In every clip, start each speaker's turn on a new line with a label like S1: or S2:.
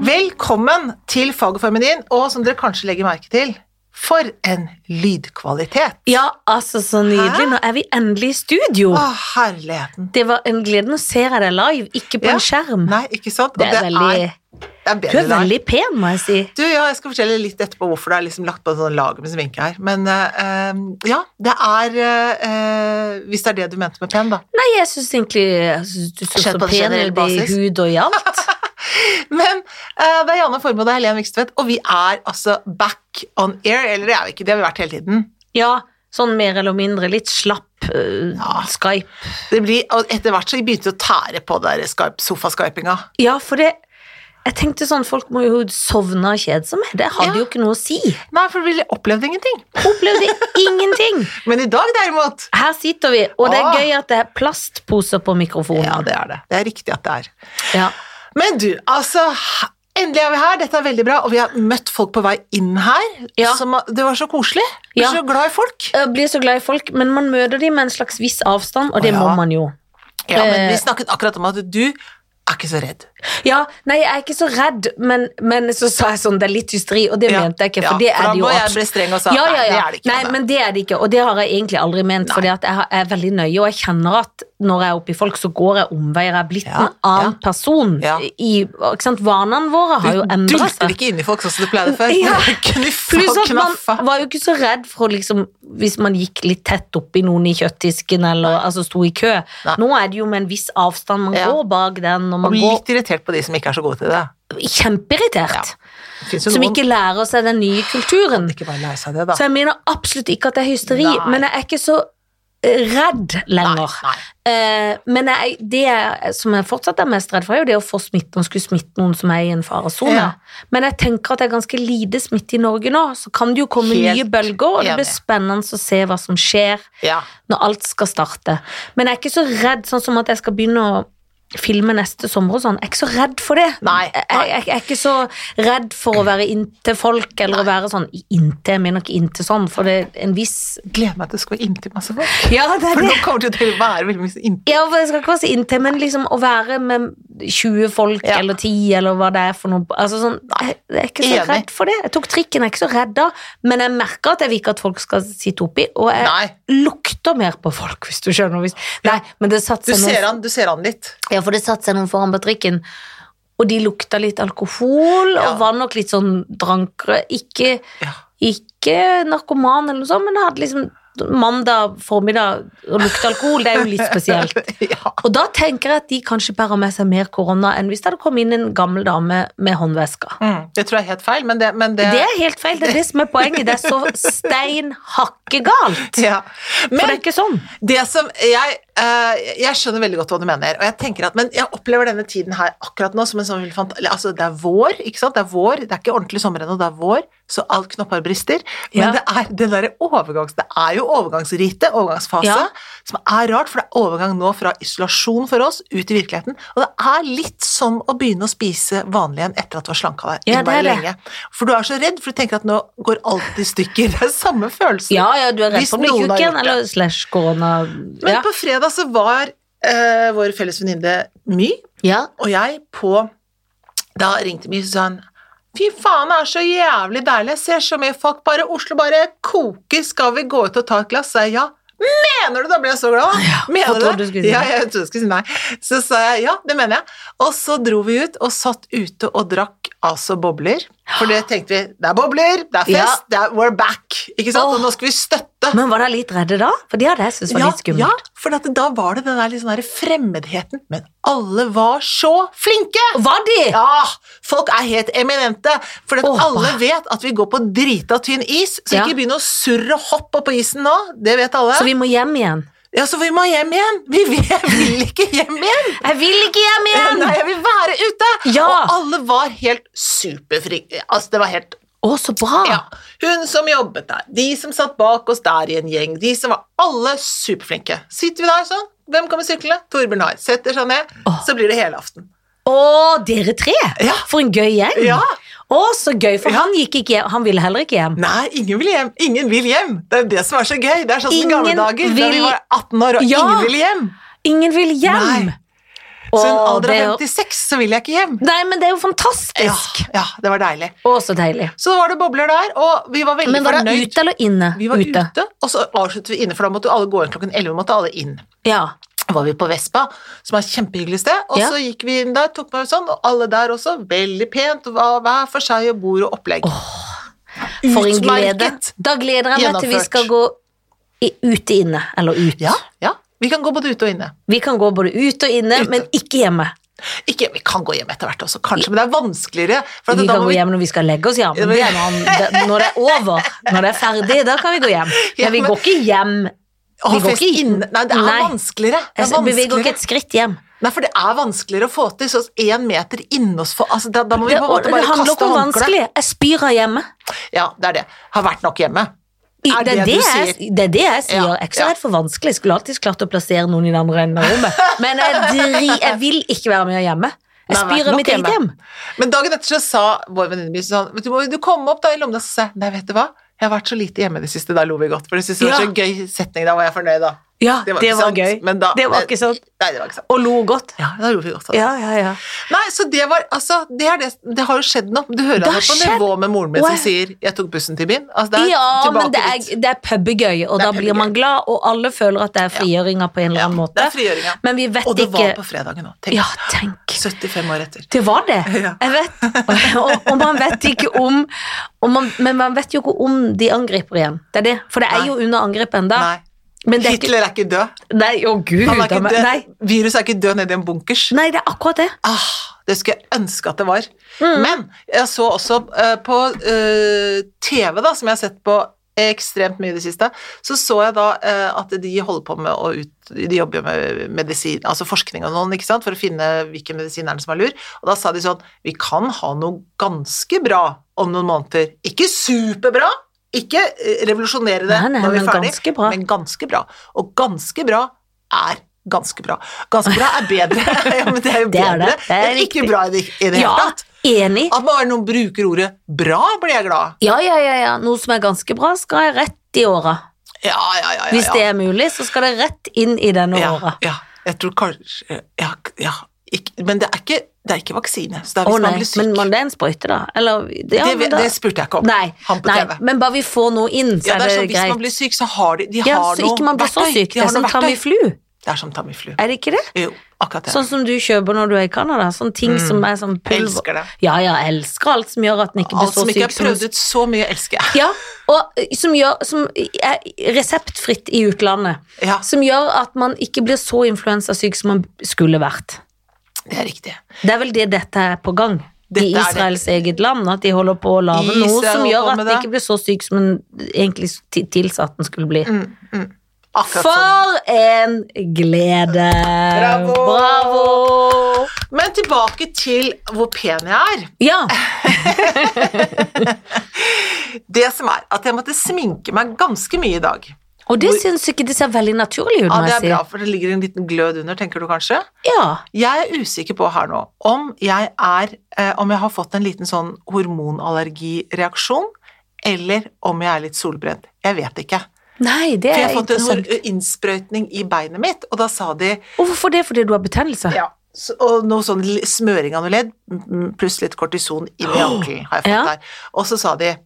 S1: Velkommen til Fag og Feminin, og som dere kanskje legger merke til, for en lydkvalitet!
S2: Ja, altså, så nydelig. Nå er vi endelig i studio.
S1: Å, herligheten.
S2: Det var en glede. Nå ser jeg deg live, ikke på
S1: Ja.
S2: en skjerm.
S1: Nei, ikke sant? Og
S2: det er veldig,
S1: er- det er
S2: du
S1: bedre
S2: er
S1: der.
S2: veldig pen, må jeg si.
S1: Du, ja, jeg skal fortelle litt etterpå hvorfor det er liksom lagt på sånn lager med sminke her. Men eh, eh, ja, det er eh, eh, Hvis det er det du mente med pen, da.
S2: Nei, jeg syns egentlig jeg synes du ser
S1: Skjønt på
S2: så
S1: en
S2: pen
S1: generell
S2: ut i
S1: basis.
S2: hud og i alt.
S1: Men eh, det er Janne Formoe og Helen Vikstvedt, og vi er altså back on air. Eller det er vi ikke, det har vi vært hele tiden.
S2: Ja, sånn mer eller mindre. Litt slapp øh,
S1: Ja.
S2: Skype.
S1: Det blir, og etter hvert så begynte vi å tære på der Skype- sofaskypinga.
S2: Ja, for det Jeg tenkte sånn, folk må jo sovne av kjedsomhet. Det hadde
S1: Ja.
S2: jo ikke noe å si.
S1: Nei, for vi opplevde ingenting.
S2: Opplevde ingenting.
S1: Men i dag derimot
S2: Her sitter vi, og det er
S1: Åh.
S2: gøy at det er plastposer på mikrofonen.
S1: Ja, det er det. Det er riktig at det er.
S2: Ja.
S1: Men du, altså Endelig er vi her, dette er veldig bra, og vi har møtt folk på vei inn her.
S2: Ja.
S1: Som, det var så koselig. Vi
S2: Ja.
S1: er så glad i folk.
S2: Jeg Eh, blir så glad i folk, men man møter dem med en slags viss avstand, og det
S1: Å, ja.
S2: må man jo.
S1: Ja, men
S2: Eh.
S1: vi snakket akkurat om at du er ikke så redd.
S2: Ja, nei, jeg er ikke så redd, men, men så sa jeg sånn, det er litt hysteri, og det
S1: Ja,
S2: mente jeg ikke,
S1: ja,
S2: for det
S1: for
S2: er
S1: da
S2: det jo
S1: må jeg
S2: absolutt-
S1: bli streng og sa,
S2: ja,
S1: nei,
S2: ja, ja.
S1: det er det ikke,
S2: Nei,
S1: Anne.
S2: men det er det ikke, og det har jeg egentlig aldri ment, for jeg har- jeg er veldig nøye, og jeg kjenner at når jeg er oppe i folk, så går jeg omveier, jeg er blitt
S1: Ja,
S2: en annen person.
S1: Ja.
S2: I, ikke sant, vanene våre har jo
S1: du
S2: endret
S1: dulter
S2: seg.
S1: ikke inn i folk sånn som du pleide før.
S2: Ja.
S1: Knuffa og
S2: Pluss at man
S1: knaffa.
S2: var jo ikke så redd for å liksom, hvis man gikk litt tett oppi noen i kjøttdisken eller altså, sto i kø.
S1: Nei.
S2: Nå er det jo med en viss avstand. Man
S1: Ja.
S2: går bak den, og
S1: Og
S2: man
S1: blir litt irritert på de som ikke er så gode til det.
S2: går kjempeirritert.
S1: Det finnes jo
S2: Som
S1: noen
S2: ikke lærer seg den nye kulturen.
S1: ikke bare lærer seg det, da.
S2: Så jeg mener absolutt ikke at det er hysteri,
S1: Nei.
S2: men jeg er ikke så eh, redd lenger.
S1: Nei,
S2: Eh, men jeg, det jeg, som jeg fortsatt er mest redd for, er jo det å få smitte og skulle smitte noen som er i en faresone.
S1: Ja.
S2: Men jeg tenker at det er ganske lite smitte i Norge nå, så kan det jo komme
S1: Helt
S2: nye bølger, og det blir
S1: enig.
S2: spennende å se hva som skjer
S1: Ja.
S2: når alt skal starte. Men jeg er ikke så redd, sånn som at jeg skal begynne å filme neste sommer og sånn. Jeg er ikke så redd for det.
S1: Nei,
S2: Jeg,
S1: nei.
S2: jeg, jeg er ikke så redd for å være inntil folk, eller å være sånn inntil, jeg mener ikke inntil sånn, for det er en viss
S1: Gleder meg til det skal være inntil masse folk.
S2: Ja, det
S1: For nå kommer det jo til å være veldig mye inntil.
S2: Ja, for jeg skal ikke være så inntil, men liksom å være med 20 folk,
S1: Ja.
S2: eller 10, eller hva det er for noe Altså sånn, jeg, jeg er ikke så
S1: Enig.
S2: redd for det. Jeg tok trikken, jeg er ikke så redd da, men jeg merker at jeg vil ikke at folk skal sitte oppi, og jeg
S1: Nei.
S2: lukter mer på folk, hvis du skjønner. Hvis, nei, men det satt
S1: Du
S2: seg noen-
S1: ser han, du ser han litt.
S2: Ja, for det satt seg noen foran på trikken, og de lukta litt alkohol,
S1: Ja.
S2: og var nok litt sånn drankere. Ikke,
S1: Ja.
S2: ikke narkoman eller noe sånt, men hadde liksom mandag formiddag og lukte alkohol, det er jo litt spesielt.
S1: Ja.
S2: Og da tenker jeg at de kanskje bærer med seg mer korona enn hvis det hadde kommet inn en gammel dame med håndveska.
S1: Mm, det tror jeg er helt feil, men det, men det,
S2: Det er helt feil, det er det som er poenget. Det er så stein hakkegalt.
S1: ja.
S2: For det
S1: Men
S2: er ikke sånn.
S1: det som jeg, eh, jeg skjønner veldig godt hva du mener, og jeg tenker at, men jeg opplever denne tiden her akkurat nå som en sånn veldig fant- eller, altså Det er vår, ikke sant? Det er vår, det er ikke ordentlig sommer ennå, det er vår, så alt knopper brister. Men
S2: Ja.
S1: det er den derre overgangs... Det er jo overgangsrite, overgangsfase,
S2: Ja.
S1: som er rart, for det er overgang nå fra isolasjon for oss ut i virkeligheten. Og det er litt som å begynne å spise vanlig igjen etter at du har slanka deg
S2: Ja, det er
S1: innmari
S2: det.
S1: lenge. For du er så redd, for du tenker at nå går alt i stykker. Det er samme følelsen.
S2: Ja, ja, du er redd
S1: Hvis
S2: for å bli
S1: noen
S2: tjukk
S1: har
S2: igjen,
S1: gjort det.
S2: eller slash korona.
S1: Men
S2: Ja.
S1: på fredag så var eh, vår felles venninne My
S2: ja.
S1: og jeg på Da ringte My og sa han Fy faen, det er så jævlig deilig. Jeg ser så mye folk. Bare Oslo bare koker. Skal vi gå ut og ta et glass? Sa jeg ja. Mener du? Da ble jeg så glad.
S2: jeg
S1: mener
S2: trodde du
S1: det?
S2: skulle si
S1: ja,
S2: nei.
S1: jeg trodde du skulle si nei. Så sa jeg ja, det mener jeg. Og så dro vi ut og satt ute og drakk altså bobler. For det tenkte vi. Det er bobler, det er
S2: Ja.
S1: fest, det er, we're back. Ikke sant?
S2: Åh.
S1: Og nå skal vi støtte.
S2: Men var dere litt redde da? For det hadde jeg syntes var litt skummelt.
S1: Ja, for at da var det den der, litt sånn der fremmedheten, men alle var så flinke!
S2: Var de?
S1: Ja, folk er helt eminente, for at
S2: Åh.
S1: alle vet at vi går på drita tynn is, så
S2: Ja.
S1: ikke begynn å surre og hoppe på isen nå, det vet alle.
S2: Så vi må hjem igjen.
S1: Ja, så vi må hjem igjen! Vi vil, vil ikke hjem igjen!
S2: Jeg vil ikke hjem igjen!
S1: Eh, Nei, jeg vil være ute!
S2: Ja.
S1: Og alle var helt superfrie. Altså, det var helt
S2: Å, så bra!
S1: ja. Hun som jobbet der, de som satt bak oss der i en gjeng, de som var alle superflinke. Sitter vi der sånn, hvem kommer syklende? Torbjørn Haar. Setter seg ned,
S2: Åh.
S1: så blir det helaften.
S2: Å, dere tre!
S1: Ja.
S2: For en gøy gjeng!
S1: Ja.
S2: Å, så gøy, for
S1: Ja.
S2: han gikk ikke hjem. Han ville heller ikke hjem.
S1: Nei, ingen vil hjem! Ingen vil hjem! Det er det som er så gøy. Det er sånn som i gamle
S2: Ingen
S1: dager, da vi
S2: vil-
S1: var 18 år og
S2: Ja.
S1: ingen ville hjem.
S2: Ingen vil hjem!
S1: Nei. Så i en
S2: Åh,
S1: alder
S2: det er jo-
S1: av 56 så vil jeg ikke hjem.
S2: Nei, men det er jo
S1: Ja,
S2: fantastisk!
S1: ja, det var deilig.
S2: Å, så deilig.
S1: Så var det bobler der, og vi var veldig
S2: Men var det
S1: fornøyd.
S2: ute eller inne?
S1: Vi var ute. og så avsluttet vi inne, for da måtte jo alle gå inn klokken 11, måtte alle inn.
S2: Ja.
S1: var vi på Vespa, som er et kjempehyggelig sted, og
S2: Ja.
S1: så gikk vi inn der, tok meg sånn, og alle der også, veldig pent, og hva- hver for seg og bord og opplegg.
S2: For en glede.
S1: Utmerket.
S2: Da gleder jeg meg til vi
S1: Gjennomført.
S2: skal gå i, ute inne, eller ut.
S1: Ja, ja. Vi kan gå både ute og inne.
S2: Vi kan gå både ut og inne,
S1: Ute.
S2: men ikke hjemme.
S1: Ikke, vi kan gå hjem etter hvert også, kanskje, men det er vanskeligere. For at
S2: Vi
S1: da
S2: kan
S1: må
S2: gå
S1: vi,
S2: hjem når vi skal legge oss, ja. Men det er når, han, det, når det er over, når det er ferdig, da kan vi gå hjem.
S1: Ja,
S2: Men vi
S1: men-
S2: går ikke hjem.
S1: å,
S2: vi går
S1: fest
S2: ikke i-
S1: inne. Nei, det er
S2: Nei.
S1: vanskeligere. Det er
S2: Altså, Vi går ikke
S1: vanskeligere.
S2: et skritt hjem.
S1: Nei, for det er vanskeligere å få til, så én meter inne oss, for, altså, da, da må vi
S2: Det,
S1: på en måte
S2: og det
S1: bare
S2: handler
S1: kaste
S2: ikke
S1: håndkle.
S2: om vanskelig. Jeg spyr av hjemme.
S1: Ja, det er det. Har vært nok hjemme.
S2: I-
S1: Er
S2: det,
S1: det
S2: er det,
S1: du
S2: jeg,
S1: sier?
S2: det er det jeg sier.
S1: Ja,
S2: Jeg er ikke så
S1: ja.
S2: redd for vanskelig. Jeg skulle alltid klart å plassere noen i den andre enden av rommet. Men jeg, dri, jeg vil ikke være med hjemme. Jeg
S1: Nei, nei,
S2: spyr av
S1: nok
S2: mitt eget hjem.
S1: hjemme. Men dagen etter så sa vår venninne min sånn "Vet Du må du komme opp da i lommen og sa jeg, Nei, vet du hva? Jeg har vært så lite hjemme i det siste. Da lo vi godt. For det synes jeg var
S2: Ja.
S1: så gøy setning. Da var jeg fornøyd, da.
S2: Ja, det var,
S1: ikke sant,
S2: gøy.
S1: men da-
S2: det var ikke sant.
S1: Nei, det var ikke sant.
S2: Og lo godt.
S1: Ja, da lo vi godt. da.
S2: Ja, ja, ja.
S1: Nei, så det var Altså, det er det Det har jo skjedd noe. Du hører
S2: Det
S1: han jo
S2: har
S1: på
S2: skjedd.
S1: nivå med moren min
S2: Wow.
S1: som sier 'jeg tok bussen til byen'. Altså, det er
S2: Ja, men
S1: tilbake
S2: det er,
S1: dit.
S2: det er pubbegøy, og
S1: Det er
S2: da blir man
S1: pubbegøy.
S2: glad, og alle føler at det er frigjøringa på en eller
S1: Ja,
S2: annen
S1: det er
S2: måte.
S1: frigjøringa.
S2: Men vi vet
S1: Og det var
S2: ikke
S1: på fredagen òg. Tenk.
S2: Ja, tenk.
S1: 75 år etter.
S2: Det var det.
S1: Ja.
S2: Jeg vet. Og, og man vet ikke om og man, Men man vet jo ikke om de angriper igjen. Det er det. For det er
S1: Nei.
S2: jo under angrep ennå.
S1: Nei.
S2: Men det er ikke
S1: Hitler er ikke død.
S2: Nei, å gud.
S1: Han er
S2: da,
S1: ikke
S2: men-
S1: død.
S2: Nei.
S1: Virus er ikke død nede i en bunkers.
S2: nei, det er akkurat det.
S1: Ah, det skulle jeg ønske at det var.
S2: Mm.
S1: Men jeg så også eh, på eh, TV, da, som jeg har sett på ekstremt mye i det siste, så så jeg da eh, at de holder på med å ut De jobber jo med medisin, altså forskning og noen, ikke sant, for å finne hvilken medisin er den som er lur. Og da sa de sånn Vi kan ha noe ganske bra om noen måneder. Ikke superbra, ikke eh, revolusjonere det
S2: Nei, nei,
S1: når vi
S2: men
S1: er ferdig,
S2: ganske bra.
S1: men ganske bra. Og ganske bra er ganske bra. Ganske bra er bedre. ja, men det er jo
S2: Det er det.
S1: bedre.
S2: Det er
S1: men ikke
S2: riktig.
S1: bra i det i det hele
S2: Ja,
S1: tatt.
S2: enig.
S1: At bare noen bruker ordet 'bra', blir jeg glad.
S2: Ja, ja, ja, ja. Noe som er ganske bra, skal jeg rett i åra.
S1: Ja, ja, ja. ja,
S2: Hvis
S1: ja.
S2: det er mulig, så skal det rett inn i denne
S1: ja,
S2: åra.
S1: ja. Jeg tror kanskje Ja, ja. Ikke, men det er ikke, det er ikke vaksine. Så det er
S2: Å
S1: hvis man
S2: nei,
S1: blir syk.
S2: men man, det er en sprøyte, da. Eller ja,
S1: det,
S2: men da,
S1: det spurte jeg ikke om.
S2: Nei,
S1: Han på
S2: nei,
S1: TV.
S2: men bare vi får noe inn, så
S1: Ja, det er sånn, Hvis
S2: greit.
S1: man blir syk, så har de, de
S2: ja,
S1: har
S2: så
S1: noe
S2: ikke man blir så
S1: verktøy.
S2: syk.
S1: De
S2: Sånn Det
S1: har
S2: er som
S1: noe verktøy.
S2: Tamiflu,
S1: Det er som Tamiflu.
S2: er det ikke det?
S1: Jo, akkurat det.
S2: Sånn som du kjøper når du er i Canada. Sånne ting som er sånn
S1: jeg
S2: pulver.
S1: Mm. elsker det.
S2: Ja, ja, jeg elsker alt som gjør at en ikke blir
S1: Alt
S2: så
S1: som ikke
S2: syk.
S1: er prøvd ut så mye, elsker jeg.
S2: ja, og eh, som, gjør, som er reseptfritt i utlandet.
S1: Ja,
S2: Som gjør at man ikke blir så influensasyk som man skulle vært.
S1: det er riktig.
S2: Det er vel det dette er på gang.
S1: Dette
S2: I
S1: er det.
S2: Israels eget land, at de holder på å lage
S1: Israel
S2: noe som
S1: holder
S2: gjør
S1: på
S2: at
S1: med
S2: de
S1: det.
S2: ikke blir så syk som en egentlig ti- tilsatt den skulle bli.
S1: Mm, Akkurat sånn.
S2: For en glede!
S1: Bravo!
S2: Bravo!
S1: Men tilbake til hvor pen jeg er.
S2: Ja,
S1: Det som er at jeg måtte sminke meg ganske mye i dag.
S2: og det
S1: Hvor-
S2: syns ikke det ser veldig naturlig ut,
S1: Ja,
S2: må
S1: Det
S2: jeg
S1: er
S2: si.
S1: bra, for det ligger en liten glød under, tenker du kanskje?
S2: Ja.
S1: Jeg er usikker på her nå om jeg er eh, Om jeg har fått en liten sånn hormonallergireaksjon, eller om jeg er litt solbrent. Jeg vet ikke.
S2: Nei, det
S1: For jeg
S2: er
S1: har fått en
S2: interessant.
S1: hor- innsprøytning i beinet mitt, og da sa de
S2: Og hvorfor det? Fordi du har betennelse?
S1: ja, s- og noe sånn l- smøring av noe ledd, m- pluss litt kortison inn i ankelen, har jeg fått
S2: Ja.
S1: der. Og så sa de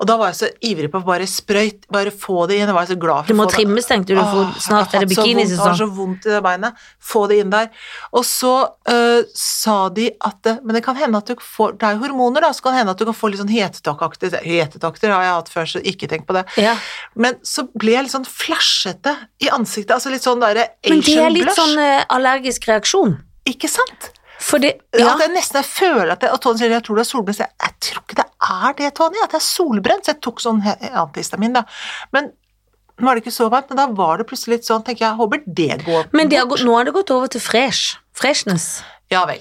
S1: Og da var jeg så ivrig på bare sprøyt, bare få det igjen. Jeg var så glad for
S2: Du må
S1: å få det.
S2: trimmes, tenkte du, for
S1: Åh,
S2: snart
S1: jeg
S2: er
S1: har hatt så
S2: det
S1: vondt, Jeg har
S2: bikinisesong.
S1: så vondt i det beinet. Få det inn der. Og så øh, sa de at det, Men det kan hende at du får Det er jo hormoner, da, så kan det hende at du kan få litt sånn hetetoktaktig Hetetokter har jeg hatt før, så ikke tenk på det.
S2: Ja.
S1: Men så ble jeg litt sånn flashete i ansiktet. Altså litt sånn derre
S2: Men det er
S1: Asian
S2: litt
S1: blush.
S2: sånn eh, allergisk reaksjon.
S1: Ikke sant?
S2: For det
S1: Ja.
S2: ja.
S1: At jeg nesten jeg føler at jeg, Og Tony sier jeg tror du er solbrent. Så jeg, jeg tror ikke det er det, Tony. At jeg er solbrent. Så jeg tok sånn he- antihistamin, da. Men nå er det ikke så varmt, men da var det plutselig litt sånn tenker jeg, jeg håper det går
S2: Men det har gått, nå har det gått over til fresh. Freshness.
S1: Ja vel.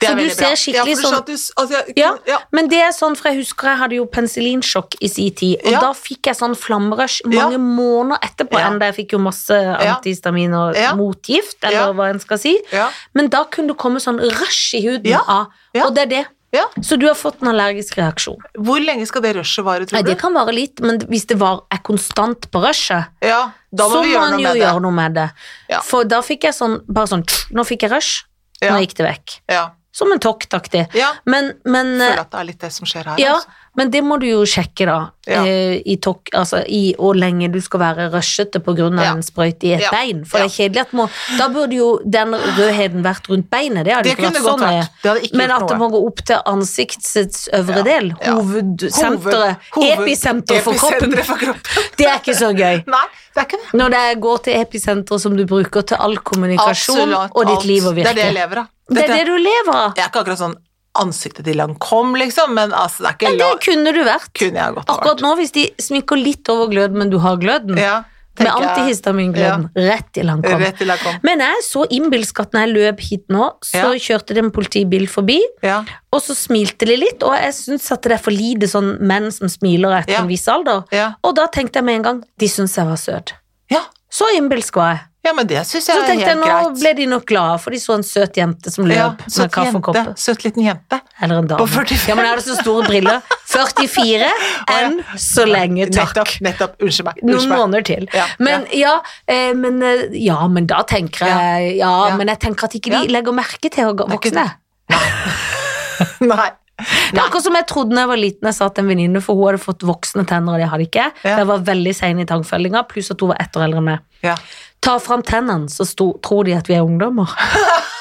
S1: Det
S2: Så
S1: er
S2: du
S1: veldig
S2: ser
S1: bra.
S2: skikkelig
S1: ja, for du
S2: sånn-
S1: sa at du s- altså, jeg,
S2: Ja.
S1: ja.
S2: Men det er sånn, for jeg husker jeg hadde jo penicillinsjokk i sin tid, og
S1: Ja.
S2: da fikk jeg sånn flammerush mange
S1: Ja.
S2: måneder etterpå
S1: Ja.
S2: enda jeg fikk jo masse antihistamin og
S1: Ja.
S2: motgift, eller
S1: Ja.
S2: hva en skal si.
S1: Ja.
S2: Men da kunne det komme sånn rush i huden
S1: Ja.
S2: av,
S1: Ja.
S2: og det er det.
S1: Ja.
S2: Så du har fått en allergisk reaksjon.
S1: Hvor lenge skal det rushet vare, tror
S2: Nei,
S1: du?
S2: det kan være litt, men hvis det var, er konstant på rushet,
S1: Ja, da må
S2: så
S1: vi
S2: må
S1: gjøre
S2: han
S1: noe
S2: jo
S1: med det.
S2: gjøre noe med det.
S1: Ja.
S2: For da fikk jeg sånn, bare sånn Nå fikk jeg rush.
S1: Ja.
S2: Nå gikk det vekk.
S1: Ja.
S2: Som en toktaktig.
S1: ja.
S2: Men, men eh,
S1: Føler at det er litt det som skjer her.
S2: Ja,
S1: altså.
S2: men det må du jo sjekke, da.
S1: Ja.
S2: eh, I, tok, altså, I hvor lenge du skal være rushete pga. av
S1: Ja.
S2: en sprøyte i et
S1: Ja.
S2: bein. For
S1: Ja.
S2: det er kjedelig at må, Da burde jo den rødheten vært rundt beinet. Det hadde
S1: Det
S2: ikke
S1: kunne
S2: vært
S1: godt
S2: sånn.
S1: vært. Det hadde ikke
S2: Men at
S1: gjort
S2: det
S1: noe.
S2: må gå opp til ansiktets øvre
S1: Ja.
S2: del.
S1: Ja.
S2: Hovedsenteret.
S1: Hoved-
S2: episenter for kroppen.
S1: Episenteret for kroppen.
S2: Det er ikke så gøy.
S1: Nei, det er ikke det.
S2: Når det går til episenteret som du bruker til all kommunikasjon
S1: Absolutt
S2: og
S1: alt.
S2: ditt liv og
S1: Det er det jeg
S2: virke.
S1: lever av.
S2: Det
S1: Dette-
S2: er det du lever av.
S1: Jeg er ikke akkurat sånn ansiktet til han kom, liksom, men altså, det er ikke
S2: Det
S1: la...
S2: kunne du vært.
S1: Kunne jeg godt ha vært.
S2: Akkurat nå, hvis de sminker litt over gløden, men du har gløden,
S1: Ja,
S2: med
S1: tenker jeg.
S2: antihistamingløden, rett til han kom.
S1: Rett til han kom.
S2: Men jeg så innbilsk at når jeg løp hit nå, så kjørte det en politibil forbi,
S1: Ja.
S2: og så smilte de litt, og jeg syns at det er for lite sånn menn som smiler etter
S1: Ja.
S2: en viss alder.
S1: Ja.
S2: Og da tenkte jeg med en gang de syns jeg var søt.
S1: ja.
S2: Så innbilsk var jeg.
S1: Ja, men det syns
S2: Så
S1: jeg er
S2: tenkte jeg
S1: helt
S2: nå
S1: greit.
S2: ble de nok glade, for de så en søt jente som løp
S1: ja,
S2: med
S1: søt, jente,
S2: kaffekopp.
S1: søt liten jente.
S2: Eller en dame.
S1: På 45.
S2: Ja, men jeg hadde så store briller. 44 enn så lenge, takk.
S1: Nettopp. nettopp. Unnskyld meg.
S2: Noen
S1: Unnskyld meg.
S2: måneder til.
S1: Ja,
S2: Men ja, eh, men, eh, ja, men da tenker jeg ja,
S1: Ja.
S2: men jeg tenker at ikke de
S1: Ja.
S2: legger merke til å gå-
S1: Det er ikke
S2: voksne.
S1: Nei.
S2: Det er akkurat som jeg trodde da jeg var liten jeg sa til en venninne, for hun hadde fått voksne tenner, og det hadde ikke.
S1: Ja.
S2: Jeg var veldig sein i tangfellinga, pluss at hun var ett år eldre enn meg.
S1: Ja.
S2: Ta fram tennene, så sto, tror de at vi er ungdommer.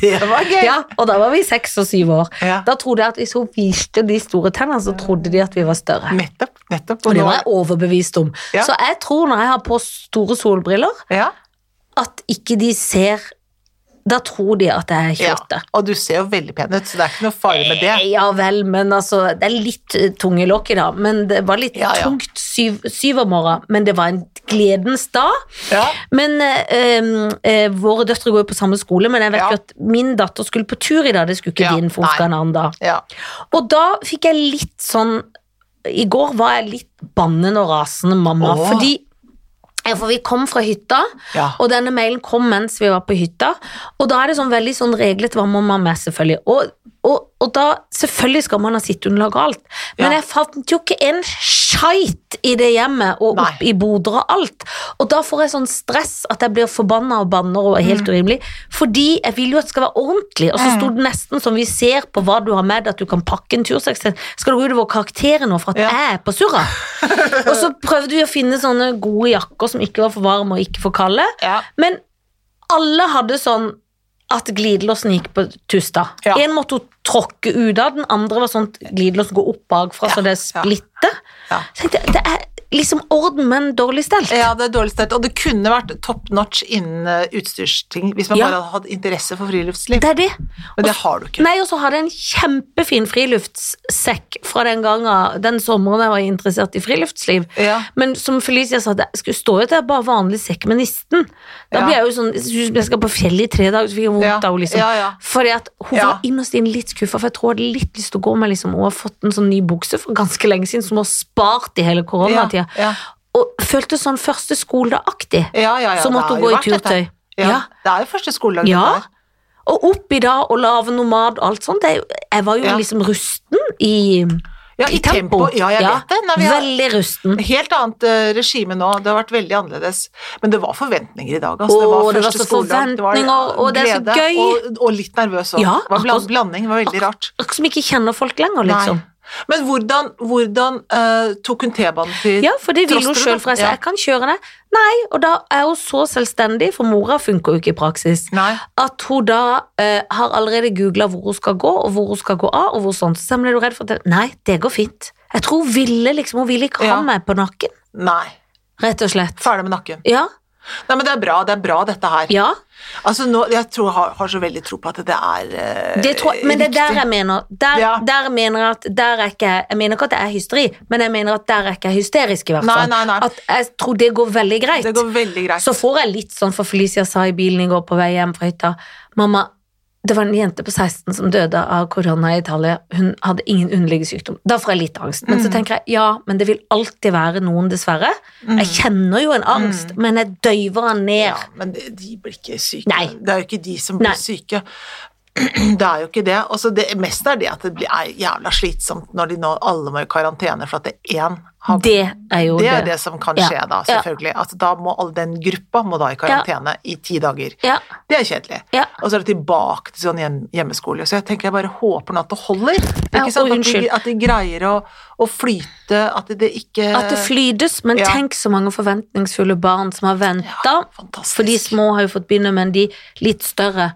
S1: Det var gøy.
S2: Ja, og da var vi seks og syv år.
S1: Ja.
S2: Da trodde jeg at hvis hun viste de store tennene, så trodde de at vi var større.
S1: Nettopp. nettopp.
S2: Og det
S1: nå-
S2: var jeg overbevist om.
S1: Ja.
S2: Så jeg tror når jeg har på store solbriller,
S1: ja.
S2: at ikke de ser Da tror de at jeg er
S1: ja.
S2: 28.
S1: Og du ser jo veldig pen ut, så det er ikke noe farlig med det.
S2: Ja vel, men altså Det er litt eh, tung i lokket, da. Men det var litt
S1: Ja, ja.
S2: tungt syv, syvermorgen. Men det var en gledens dag.
S1: Ja.
S2: Men eh, eh, våre døtre går jo på samme skole, men jeg vet
S1: Ja.
S2: jo at min datter skulle på tur i dag. Det skulle ikke
S1: Ja,
S2: din, for hun skal en annen dag.
S1: Ja.
S2: Og da fikk jeg litt sånn I går var jeg litt bannende og rasende mamma,
S1: Åh.
S2: fordi ja, for vi kom fra hytta,
S1: Ja.
S2: og denne mailen kom mens vi var på hytta. Og da er det sånn veldig sånn reglet hva må man med, selvfølgelig. Og, og, og da, selvfølgelig skal man ha sitteunderlag og alt, men
S1: Ja.
S2: jeg fant jo ikke en skeit i det hjemmet, og opp
S1: Nei.
S2: i boder og alt. Og da får jeg sånn stress at jeg blir forbanna og banner og er
S1: Mm.
S2: helt urimelig, fordi jeg vil jo at det skal være ordentlig. Og så sto det nesten som vi ser på hva du har med deg, at du kan pakke en tursekk. Skal det gå utover karakteren nå for at
S1: Ja.
S2: jeg er på surra? og så prøvde vi å finne sånne gode jakker som ikke var for varme og ikke for kalde.
S1: Ja.
S2: Men alle hadde sånn at glidelåsen gikk på tusta.
S1: Ja.
S2: En måtte hun tråkke ut av, den andre var sånn at glidelåsen går opp bakfra, så det splitter.
S1: Ja.
S2: Så tenkte jeg, det er liksom orden, men dårlig stelt.
S1: Ja, det er dårlig stelt. Og det kunne vært top notch innen eh, utstyrsting hvis man
S2: Ja.
S1: bare hadde hatt interesse for friluftsliv.
S2: Det er det.
S1: Men det har du ikke.
S2: Nei, og så hadde jeg en kjempefin friluftssekk fra den gangen, den sommeren jeg var interessert i friluftsliv.
S1: Ja.
S2: Men som Felicia sa, det skulle stå jo at jeg bare vanlig sekk med nisten. Da
S1: Ja.
S2: blir jeg jo sånn, jeg synes jeg skal på fjellet i tre dager, så fikk jeg vondt
S1: Ja.
S2: av henne liksom.
S1: Ja, ja.
S2: Fordi at hun
S1: Ja.
S2: var innerst inne litt skuffa, for jeg tror jeg hadde litt lyst til å gå med liksom, og har fått en sånn ny bukse for ganske lenge siden, som hun har spart i hele koronatida.
S1: Ja, ja.
S2: Og følte sånn første skoledag-aktig.
S1: Ja, ja, ja,
S2: så
S1: det
S2: måtte
S1: har
S2: hun
S1: jo
S2: gå i
S1: vært dette.
S2: turtøy.
S1: Ja.
S2: Ja.
S1: Det er jo første skoledag.
S2: Ja.
S1: dette her.
S2: Og opp i dag og lave nomad og alt sånt. Det, er jo- jeg var jo
S1: Ja.
S2: liksom rusten i,
S1: Ja, i tempo. Ja, jeg vet det. Nei, vi har-
S2: Veldig rusten.
S1: Helt annet eh, regime nå. Det har vært veldig annerledes. Men det var forventninger i dag. Altså.
S2: Åh, det var
S1: første
S2: så
S1: skoledag.
S2: forventninger, og det er så
S1: glede,
S2: gøy.
S1: Og, og litt nervøs òg.
S2: Ja,
S1: det var bland,
S2: akkurat-
S1: blanding. Det var veldig rart.
S2: Akkurat Som ikke kjenner folk lenger, liksom.
S1: Nei. Men hvordan, hvordan eh, tok hun T-banen til
S2: Ja, for det vil hun
S1: Traster du
S2: sjøl,
S1: da?
S2: for jeg sa
S1: Ja.
S2: jeg kan kjøre det. Nei, og da er hun så selvstendig, for mora funker jo ikke i praksis.
S1: Nei.
S2: at hun da eh, har allerede googla hvor hun skal gå, og hvor hun skal gå av. og hvor sånn. Så ble du redd for at det- Nei, det går fint. Jeg tror hun ville liksom, hun ville ikke
S1: Ja.
S2: ha meg på nakken,
S1: Nei.
S2: rett og slett.
S1: Ferdig med nakken.
S2: Ja,
S1: Nei, men det er bra. Det er bra, dette her.
S2: ja,
S1: Altså, nå, jeg tror, har, har så veldig tro på at det er eh,
S2: det tror jeg, men det er der jeg mener der,
S1: Ja.
S2: der mener jeg at der er ikke jeg mener ikke at jeg er hysteri, men jeg mener at der er ikke jeg hysterisk, i hvert
S1: Nei,
S2: fall.
S1: nei, nei.
S2: At jeg tror det går veldig greit.
S1: Det går veldig greit.
S2: Så får jeg litt sånn, for Felicia sa i bilen i går på vei hjem fra hytta Mamma, det var en jente på 16 som døde av korona i Italia. Hun hadde ingen underliggende sykdom. Da får jeg litt angst.
S1: Mm.
S2: Men så tenker jeg ja, men det vil alltid være noen, dessverre.
S1: Mm.
S2: Jeg kjenner jo en angst, men jeg døyver den ned.
S1: Ja, men de, de blir ikke syke.
S2: Nei.
S1: Det er jo ikke de som blir
S2: Nei.
S1: syke. Det er jo ikke det. Og så det meste er det at det blir, er jævla slitsomt når de nå alle må i karantene for at det én har
S2: Det er jo
S1: Det er det som kan
S2: Ja.
S1: skje da, selvfølgelig. At da må all den gruppa må da i karantene i ti dager.
S2: Ja.
S1: Det er kjedelig.
S2: Ja.
S1: Og så er det tilbake til sånn hjem- hjemmeskole. Så jeg tenker jeg bare håper nå at det holder.
S2: Ja,
S1: Ikke sant?
S2: og
S1: At, de,
S2: unnskyld.
S1: at de greier å, å flyte, at det ikke
S2: At det flydes, men
S1: Ja.
S2: tenk så mange forventningsfulle barn som har venta.
S1: Fantastisk.
S2: For de små har jo fått begynne, men de litt større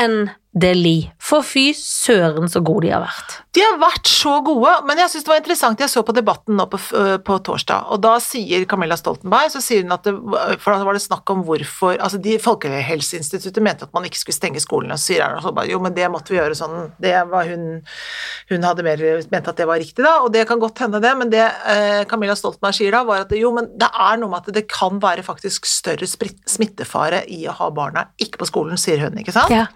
S2: enn det li. For fy søren så gode de har vært.
S1: De har vært så gode, men jeg synes det var interessant. Jeg så på debatten nå på, f- øh, på torsdag, og da sier Camilla Stoltenberg så sier hun at det, For da var det snakk om hvorfor altså de Folkehelseinstituttet mente at man ikke skulle stenge skolene, og så sier Erna Solberg jo, men det måtte vi gjøre sånn. Det var hun Hun hadde mer mente at det var riktig, da, og det kan godt hende, det, men det eh, Camilla Stoltenberg sier da, var at det, jo, men det er noe med at det kan være faktisk større sprit- smittefare i å ha barna ikke på skolen, sier hun, ikke sant?
S2: Ja.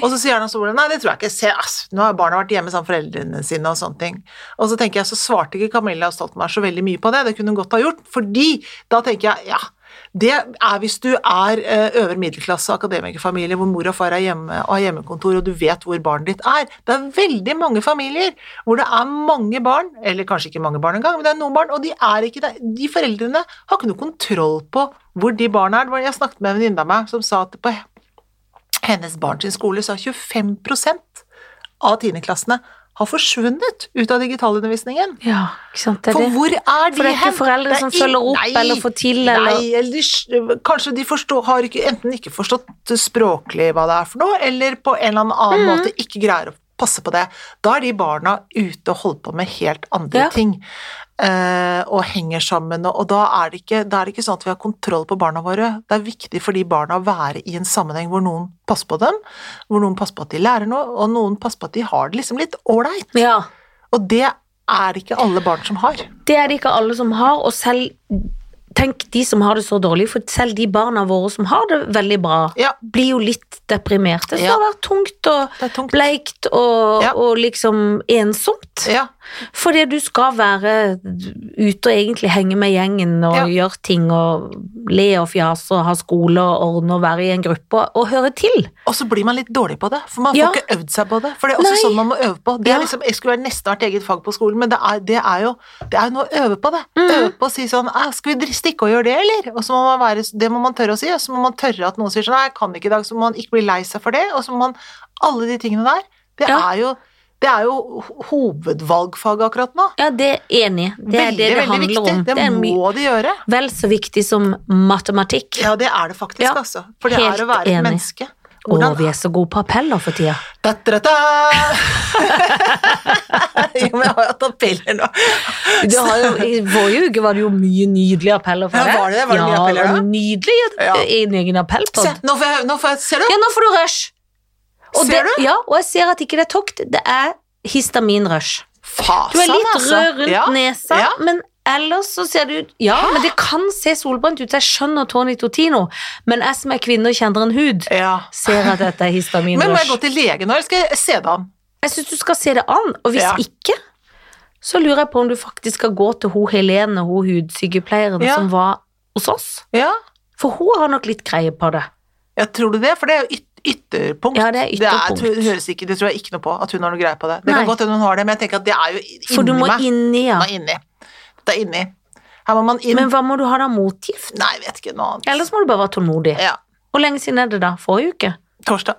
S1: Og så sier Erna Solberg nei, det tror jeg ikke. Se, ass, nå har barna vært hjemme sammen med foreldrene sine og sånne ting. Og så tenker jeg, så svarte ikke Camilla Stoltenberg så veldig mye på det. Det kunne hun godt ha gjort, fordi da tenker jeg ja. Det er hvis du er eh, øvre middelklasse akademikerfamilie hvor mor og far er hjemme og har hjemmekontor og du vet hvor barnet ditt er. Det er veldig mange familier hvor det er mange barn, eller kanskje ikke mange barn engang, men det er noen barn, og de er ikke der. De foreldrene har ikke noe kontroll på hvor de barna er. Det var- Jeg snakket med en venninne av meg som sa at på hennes barn sin skole, så har 25 av tiendeklassene har forsvunnet ut av digitalundervisningen.
S2: ja, ikke sant. Det er
S1: For
S2: det.
S1: hvor er de
S2: For det er ikke foreldre
S1: Det er
S2: som
S1: ing-
S2: følger opp
S1: Nei,
S2: eller får til, eller-
S1: Nei, eller de, s- kanskje de forstår, har ikke, enten ikke forstått språklig hva det er for noe, eller på en eller annen måte ikke greier å passe på det. Da er de barna ute og holder på med helt andre
S2: Ja.
S1: ting. eh, og henger sammen, og, og da, er det ikke, da er det ikke sånn at vi har kontroll på barna våre. Det er viktig for de barna å være i en sammenheng hvor noen passer på dem, hvor noen passer på at de lærer noe, og noen passer på at de har det liksom litt ålreit.
S2: Ja.
S1: Og det er det ikke alle barn som har.
S2: Det er det ikke alle som har, og selv Tenk de som har det så dårlig, for selv de barna våre som har det veldig bra,
S1: Ja.
S2: blir jo litt deprimerte. Så
S1: Ja.
S2: det har vært tungt og
S1: Det er tungt.
S2: bleikt og,
S1: Ja.
S2: og liksom ensomt.
S1: Ja,
S2: Fordi du skal være ute og egentlig henge med gjengen og
S1: Ja.
S2: gjøre ting og le og fjase og ha skole og ordne og være i en gruppe og, og høre til.
S1: Og så blir man litt dårlig på det, for man får
S2: Ja.
S1: ikke øvd seg på det. For det er også
S2: Nei.
S1: sånn man må øve på. Det
S2: Ja.
S1: er liksom, jeg skulle nesten vært eget fag på skolen, men det er, det er jo det er jo noe å øve på det.
S2: Mm.
S1: Øve på å si sånn «Æ, Skal vi dri- stikke og gjøre det, eller? Og så må man være, det må man tørre å si. Og så må man tørre at noen sier sånn Nei, jeg kan ikke i dag. Så må man ikke bli lei seg for det. Og så må man Alle de tingene der. Det
S2: Ja.
S1: er jo det er jo ho- hovedvalgfaget akkurat nå.
S2: Ja, det er enig. Det er
S1: veldig,
S2: det det
S1: veldig
S2: handler
S1: viktig.
S2: om.
S1: Det,
S2: er my-
S1: må de gjøre.
S2: vel så viktig som matematikk.
S1: Ja, det er det faktisk,
S2: Ja,
S1: altså. For det er
S2: helt
S1: å være
S2: enig.
S1: et menneske.
S2: Og
S1: Hvordan
S2: vi er så gode på appeller for tida.
S1: da, da, da. jo, men jeg har jo hatt appeller nå.
S2: Du har jo, I forrige uke var det jo mye nydelige appeller for
S1: Ja,
S2: deg.
S1: var det det? Var det mye appeller da?
S2: og Nydelig
S1: Ja.
S2: i en egen
S1: Se,
S2: appellpod.
S1: nå får jeg, nå får jeg Ser du?
S2: Sånn. Ja, nå får du rush. Og
S1: Ser
S2: det, Ja, og jeg ser at ikke det er tokt. Det er histaminrush.
S1: Fasan,
S2: Du er litt
S1: altså.
S2: rød rundt
S1: ja.
S2: nesa,
S1: ja.
S2: men ellers så ser du Ja, men det kan se solbrent ut. Jeg skjønner Tony Totino, men jeg som er kvinne og kjenner en hud,
S1: Ja.
S2: ser at dette er
S1: Men må jeg gå
S2: histaminrush.
S1: til lege nå, eller skal jeg se det an?
S2: Jeg syns du skal se det an, og hvis
S1: Ja.
S2: ikke så lurer jeg på om du faktisk skal gå til hun Helene, hun hudsykepleieren
S1: Ja.
S2: som var hos oss.
S1: Ja.
S2: For hun har nok litt greie på det.
S1: ja, tror du det? For det er jo yt ytterpunkt.
S2: Ja, det er ytterpunkt.
S1: Det, er, tror- høres ikke, det tror jeg ikke noe på, at hun har noe greie på det. Det
S2: Nei.
S1: kan godt hende hun har det, men jeg tenker at det er jo inni
S2: For du må
S1: meg.
S2: inni, ja.
S1: Man er inni. Det er inni. Her må man inn.
S2: Men hva må du ha da? Motgift?
S1: Nei, jeg vet ikke noe annet.
S2: Ellers må du bare være tålmodig.
S1: Ja.
S2: Hvor lenge siden er det da? Forrige uke?
S1: Torsdag.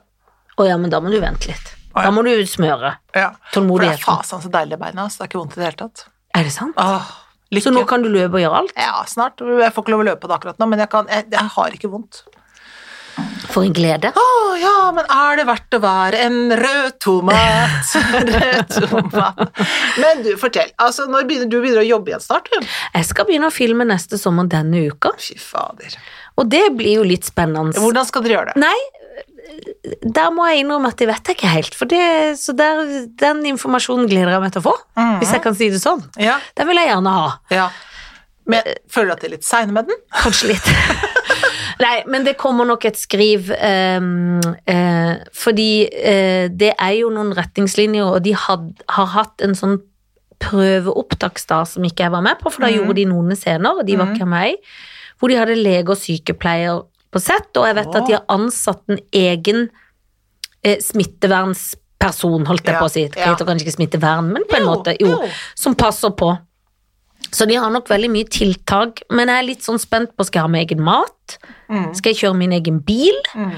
S2: Å ja, men da må du vente litt.
S1: Å ja.
S2: Da må du smøre.
S1: Ja. For det er
S2: Tålmodigheten.
S1: fasan så deilig i beina. altså. Det er ikke vondt i det hele tatt.
S2: Er det sant?
S1: Åh, lykke.
S2: Så nå kan du løpe og gjøre alt?
S1: Ja, snart. Jeg får ikke lov å løpe på det akkurat nå, men jeg, kan, jeg, jeg har ikke vondt.
S2: For en glede.
S1: Å ja, men er det verdt å være en rød tomat? rød tomat. Men du, fortell. Altså, når begynner du begynner å jobbe igjen snart? Du?
S2: Jeg skal begynne å filme neste sommer denne uka,
S1: Fy fader.
S2: og det blir jo litt spennende.
S1: Hvordan skal dere gjøre det?
S2: Nei, der må jeg innrømme at det vet jeg ikke helt, for det, så der, den informasjonen gleder jeg meg til å få,
S1: Mhm.
S2: hvis jeg kan si det sånn.
S1: Ja,
S2: Den vil jeg gjerne ha.
S1: ja. Men føler du at det er litt seine med den?
S2: Kanskje litt. Nei, men det kommer nok et skriv ehm, eh, Fordi eh, det er jo noen retningslinjer, og de had, har hatt en sånn prøveopptaksdag som ikke jeg var med på, for da
S1: Mhm.
S2: gjorde de noen scener, og de var
S1: Mhm.
S2: ikke meg, hvor de hadde lege og sykepleier på sett, og jeg vet at de har ansatt en egen eh, eh, smittevernsperson, holdt jeg
S1: Ja,
S2: på å si. Det
S1: ja.
S2: heter kanskje ikke smittevern, men på en måte, jo. Som passer på. Så de har nok veldig mye tiltak, men jeg er litt sånn spent på skal jeg ha med egen mat?
S1: Mm,
S2: Skal jeg kjøre min egen bil?
S1: mm.